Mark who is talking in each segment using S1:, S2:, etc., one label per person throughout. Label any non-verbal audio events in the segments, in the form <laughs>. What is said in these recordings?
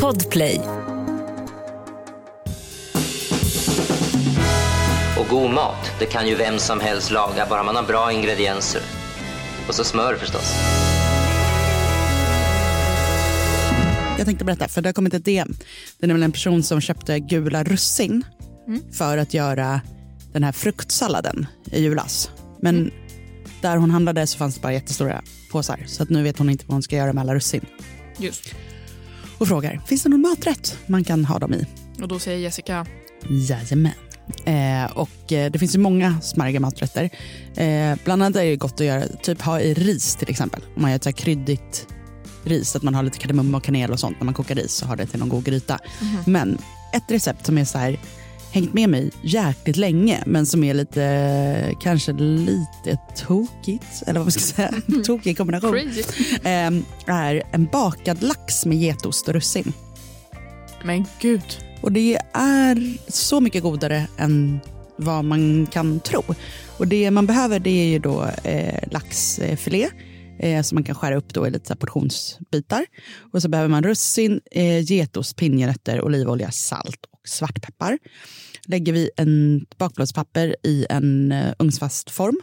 S1: Podplay.
S2: Och god mat, det kan ju vem som helst laga, bara man har bra ingredienser. Och så smör förstås.
S3: Jag tänkte berätta, för det har kommit ett DM. Det är nämligen en person som köpte gula russin för att göra den här fruktsalladen i julas. Men där hon handlade så fanns det bara jättestora påsar. Så att nu vet hon inte vad hon ska göra med alla russin.
S4: Just.
S3: Och frågar, finns det någon maträtt man kan ha dem i?
S4: Och då säger Jessica,
S3: Jajamän. Eh, och eh, det finns ju många smarriga maträtter. Eh, bland annat är det gott att göra, typ ha i ris till exempel. Om man gör ett så här kryddigt ris, att man har lite kardemumma och kanel och sånt när man kokar ris och har det till någon god gryta. Men ett recept som är så här, hängt med mig jäkligt länge men som är lite, kanske lite tokigt, eller vad man ska säga, tokig kombination
S4: crazy.
S3: eh, är en bakad lax med getost och russin.
S4: Men gud.
S3: Och det är så mycket godare än vad man kan tro. Och det man behöver det är ju då eh, laxfilé eh, som man kan skära upp då i lite så här portionsbitar. Och så behöver man russin, eh, getost, pinjenötter, olivolja, salt och svartpeppar. Lägger vi en bakplåtspapper i en eh, ugnsfast form.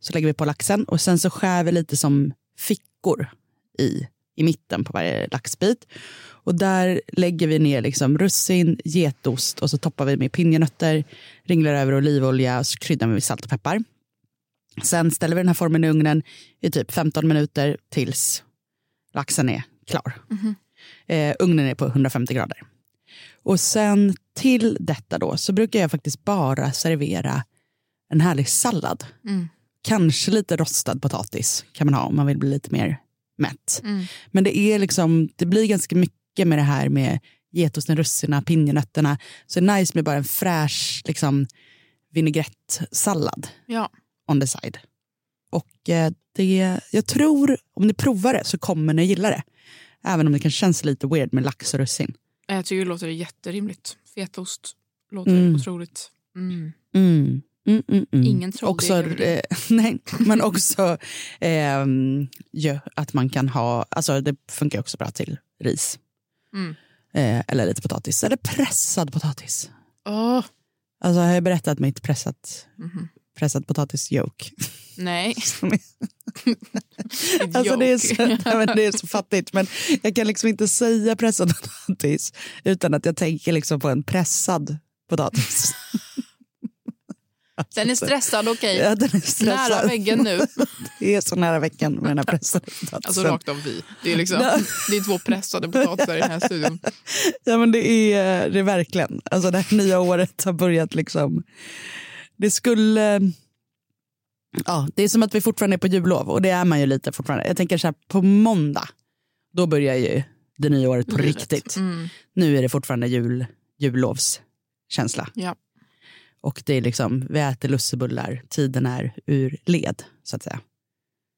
S3: Så lägger vi på laxen och sen så skär vi lite som fickor i, i mitten på varje laxbit. Och där lägger vi ner liksom russin, getost och så toppar vi med pinjenötter, ringlar över olivolja och så kryddar vi med salt och peppar. Sen ställer vi den här formen i ugnen i typ 15 minuter tills laxen är klar. Eh, ugnen är på 150 grader. Och sen till detta då så brukar jag faktiskt bara servera en härlig sallad.
S4: Mm.
S3: Kanske lite rostad potatis kan man ha om man vill bli lite mer mätt. Men det är liksom, det blir ganska mycket med det här med getosten, russina, pinjenötterna. Så det är nice med bara en fräsch liksom, vinägrettsallad
S4: Ja.
S3: on the side. Och eh, det, jag tror, om ni provar det så kommer ni gilla det. Även om det kanske känns lite weird med lax och russin.
S4: Jag tycker det låter jätterimligt. Fetaost låter
S3: Mm.
S4: otroligt. Mm.
S3: Mm. Mm, mm, mm.
S4: Ingen trodde
S3: också,
S4: ju det.
S3: eh, <laughs> nej, Men också ehm, ja, att man kan ha, alltså det funkar också bra till ris.
S4: Mm.
S3: Eh, eller lite potatis, eller pressad potatis.
S4: Åh.
S3: Alltså har jag berättat mitt pressat,
S4: Mhm.
S3: pressad potatisjoke?
S4: Nej.
S3: <laughs> Alltså det är, så,
S4: Joke.
S3: <laughs> nej, men det är så fattigt men jag kan liksom inte säga pressad <laughs> potatis utan att jag tänker liksom på en pressad potatis.
S4: Den är stressad, okej.
S3: Ja, <laughs> den är
S4: Nära
S3: stressad.
S4: väggen nu.
S3: <laughs> Det är så nära veckan med den här pressade <laughs> potatisen.
S4: Alltså rakt av vi. Det är, liksom, det är två pressade potatisar i den här studion.
S3: Ja men det är det är verkligen. Alltså det här nya året har börjat liksom. Det skulle. Ja, det är som att vi fortfarande är på jullov och det är man ju lite fortfarande. Jag tänker så här på måndag. Då börjar ju det nya året <laughs> på
S4: Livet.
S3: riktigt.
S4: Mm.
S3: Nu är det fortfarande jul, jullovskänsla.
S4: Ja.
S3: Och det är liksom, vi äter lussebullar, tiden är ur led så att säga.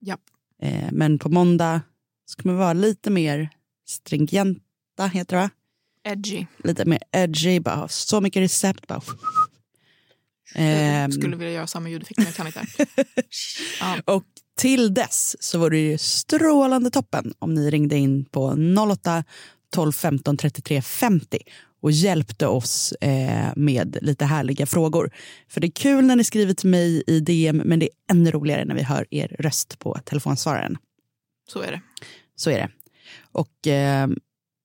S4: Japp.
S3: Eh, men på måndag ska man vara lite mer stringenta, heter det va?
S4: Edgy.
S3: lite mer edgy, bara ha så mycket recept. Bara.
S4: Jag
S3: Ehm,
S4: skulle vilja göra samma ljudeffekt men jag
S3: <laughs>
S4: kan inte. Ja.
S3: och till dess så var det ju strålande toppen om ni ringde in på 08 12 15 33 50 och hjälpte oss eh, med lite härliga frågor. För det är kul när ni skriver till mig i DM men det är ännu roligare när vi hör er röst på telefonsvararen.
S4: Så är det.
S3: Så är det. Och eh,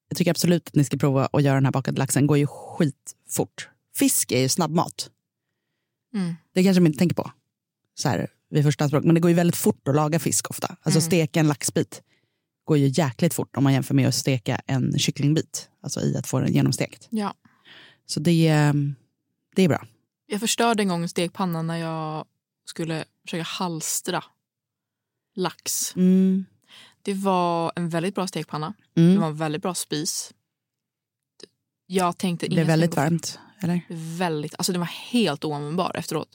S3: jag tycker absolut att ni ska prova att göra den här bakade laxen. går ju skitfort. Fisk är ju snabbmat.
S4: Mm.
S3: Det kanske man inte tänker på så här, vid första språk. Men det går ju väldigt fort att laga fisk ofta. Alltså
S4: Mm.
S3: steka en laxbit går ju jäkligt fort om man jämför med att steka en kycklingbit. Alltså i att få den genomstekt.
S4: Ja.
S3: Så det, eh, det är bra.
S4: Jag förstörde en gång stekpannan när jag skulle försöka halstra lax.
S3: Mm.
S4: Det var en väldigt bra stekpanna. Det
S3: Mm.
S4: var en väldigt bra spis. Jag tänkte...
S3: Det
S4: ingen
S3: blev
S4: ska
S3: väldigt
S4: gå-
S3: varmt, eller?
S4: Det var Väldigt, alltså den var helt oanvändbar efteråt.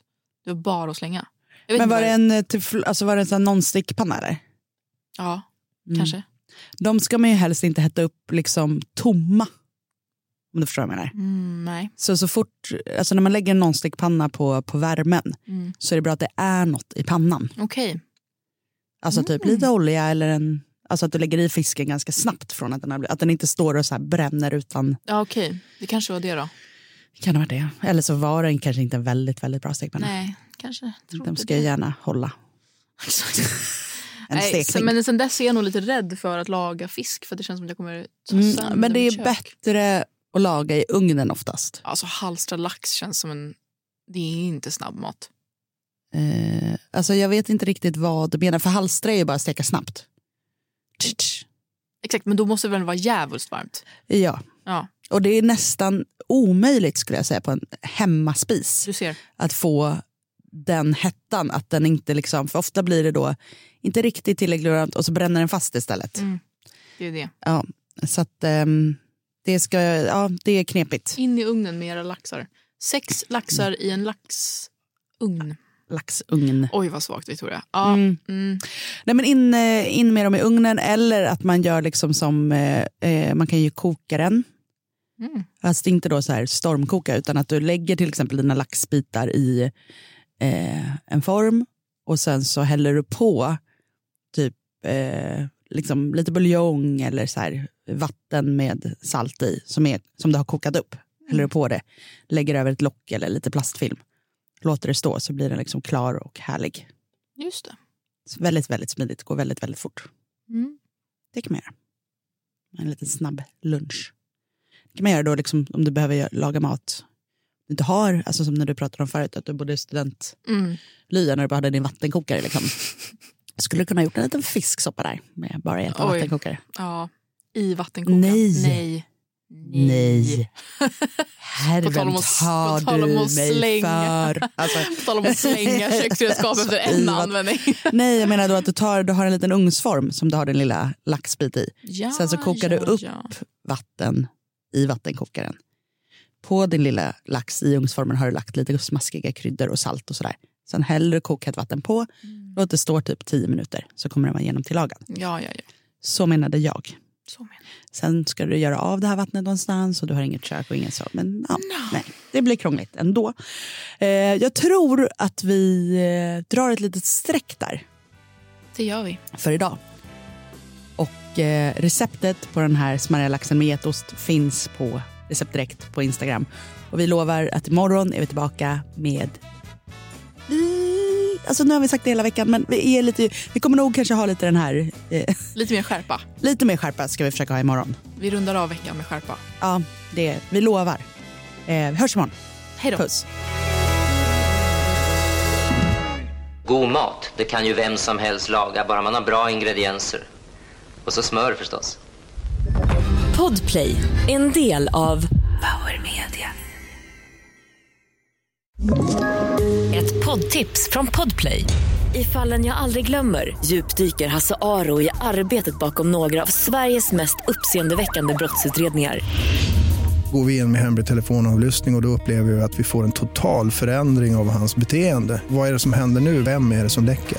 S4: Det var bara att slänga. Jag vet
S3: Men
S4: inte
S3: var
S4: vad-
S3: det en, eh, tefl- alltså var det en sån här non-stick-panna eller?
S4: Ja,
S3: Mm.
S4: kanske.
S3: De ska man ju helst inte hetta upp liksom tomma. Om du förstår vad jag menar.
S4: Mm, nej.
S3: Så, så fort, alltså när man lägger en non-stick-panna på, på värmen
S4: Mm.
S3: så är det bra att det är något i pannan.
S4: Okej. Mm.
S3: Alltså typ lite olja eller en, Alltså att du lägger i fisken ganska snabbt från att den har blivit, att den inte står och så här bränner utan,
S4: Ja, okej. Det kanske var det då.
S3: kan det vara det? Eller så var den kanske inte en väldigt, väldigt bra stekpanna.
S4: Nej, kanske. Tror
S3: De
S4: inte
S3: ska
S4: det. <laughs>
S3: ju gärna hålla
S4: Exakt.
S3: en
S4: Nej,
S3: stekning.
S4: sen, men sen dess är jag nog lite rädd för att laga fisk för att det känns som att jag kommer ta sönder
S3: mm, men det
S4: mitt
S3: är
S4: kök.
S3: bättre att laga i ugnen oftast.
S4: Alltså halstra lax känns som en... Det är inte snabbmat.
S3: Eh, alltså jag vet inte riktigt vad du menar, för halstra är ju bara att steka snabbt. Tch, tch.
S4: Exakt, men då måste det väl vara djävulskt varmt?
S3: Ja,
S4: Ja,
S3: och det är nästan omöjligt skulle jag säga på en hemmaspis
S4: du ser.
S3: att få den hettan, att den inte liksom, för ofta blir det då inte riktigt tillräckligt varmt och så bränner den fast istället.
S4: Mm. Det är det.
S3: Ja, så att ehm, det ska, ja det är knepigt.
S4: In i ugnen med era laxar. Sex laxar i en laxugn.
S3: Laxugn.
S4: Oj, vad svagt, Victoria. Ja, mm.
S3: Mm. Nej, men in, eh, in med dem i ugnen eller att man gör liksom som, eh, eh, man kan ju koka den.
S4: Mm.
S3: Alltså inte då så här stormkoka utan att du lägger till exempel dina laxbitar i eh, en form och sen så häller du på typ eh, liksom lite buljong eller så här vatten med salt i som, är, som du har kokat upp. Häller du på det, lägger över ett lock eller lite plastfilm. Låter det stå så blir den liksom klar och härlig.
S4: Just det.
S3: Så väldigt, väldigt smidigt, går väldigt, väldigt fort.
S4: Mm.
S3: Det kan man göra. En liten snabb lunch. Det kan man göra då liksom, om du behöver gö- laga mat. Du inte har, alltså som när du pratade om förut, att du bodde i studentlya
S4: Mm.
S3: när du bara hade din vattenkokare.
S4: <laughs>
S3: Liksom. Skulle du kunna ha gjort en liten fisksoppa där med bara hjälp av
S4: Oj.
S3: vattenkokare?
S4: Ja, i vattenkokaren.
S3: Nej.
S4: Nej. <laughs>
S3: Nej.
S4: På Mm. tal
S3: Herren
S4: om att-
S3: tar
S4: på tal om
S3: du
S4: att
S3: mig
S4: slänga.
S3: för. Alltså,
S4: På tal om att
S3: <laughs>
S4: slänga köksredskap efter
S3: I
S4: en
S3: vatt-
S4: användning.
S3: nej, jag menar då att du, tar, du har en liten ugnsform som du har din lilla laxbit i.
S4: Ja,
S3: <laughs> Sen så kokar du
S4: ja,
S3: upp
S4: ja.
S3: vatten i vattenkokaren. På din lilla lax i ugnsformen har du lagt lite smaskiga kryddor och salt och sådär. Sen häller du kokhett vatten på, låt det stå typ 10 minuter så kommer den vara genomtillagad.
S4: Ja, ja, ja.
S3: Så menade jag.
S4: Så menar jag.
S3: Sen ska du göra av det här vattnet någonstans och du har inget kök och ingen så. Men ja, nej, det blir krångligt ändå. Eh, jag tror att vi eh, drar ett litet streck där
S4: Det gör vi.
S3: för idag. Och eh, receptet på den här smarriga laxen med getost finns på Recept Direkt på Instagram. Och vi lovar att imorgon är vi tillbaka med... Mm, Alltså nu har vi sagt det hela veckan, men vi, är lite, vi kommer nog kanske ha lite den här... Eh, <laughs>
S4: Lite mer skärpa.
S3: lite mer skärpa ska vi försöka ha imorgon.
S4: Vi rundar av veckan med skärpa.
S3: Ja, det, vi lovar. Eh, vi hörs imorgon.
S4: Hej då.
S3: Puss.
S2: God mat, det kan ju vem som helst laga, bara man har bra ingredienser. Och så smör förstås.
S1: Podplay, en del av Power Media. Ett poddtips från Podplay. I fallen jag aldrig glömmer djupdyker Hasse Aro i arbetet bakom några av Sveriges mest uppseendeväckande brottsutredningar.
S5: Går vi in med hemlig telefonavlyssning och, och då upplever vi att vi får en total förändring av hans beteende. Vad är det som händer nu? Vem är det som läcker?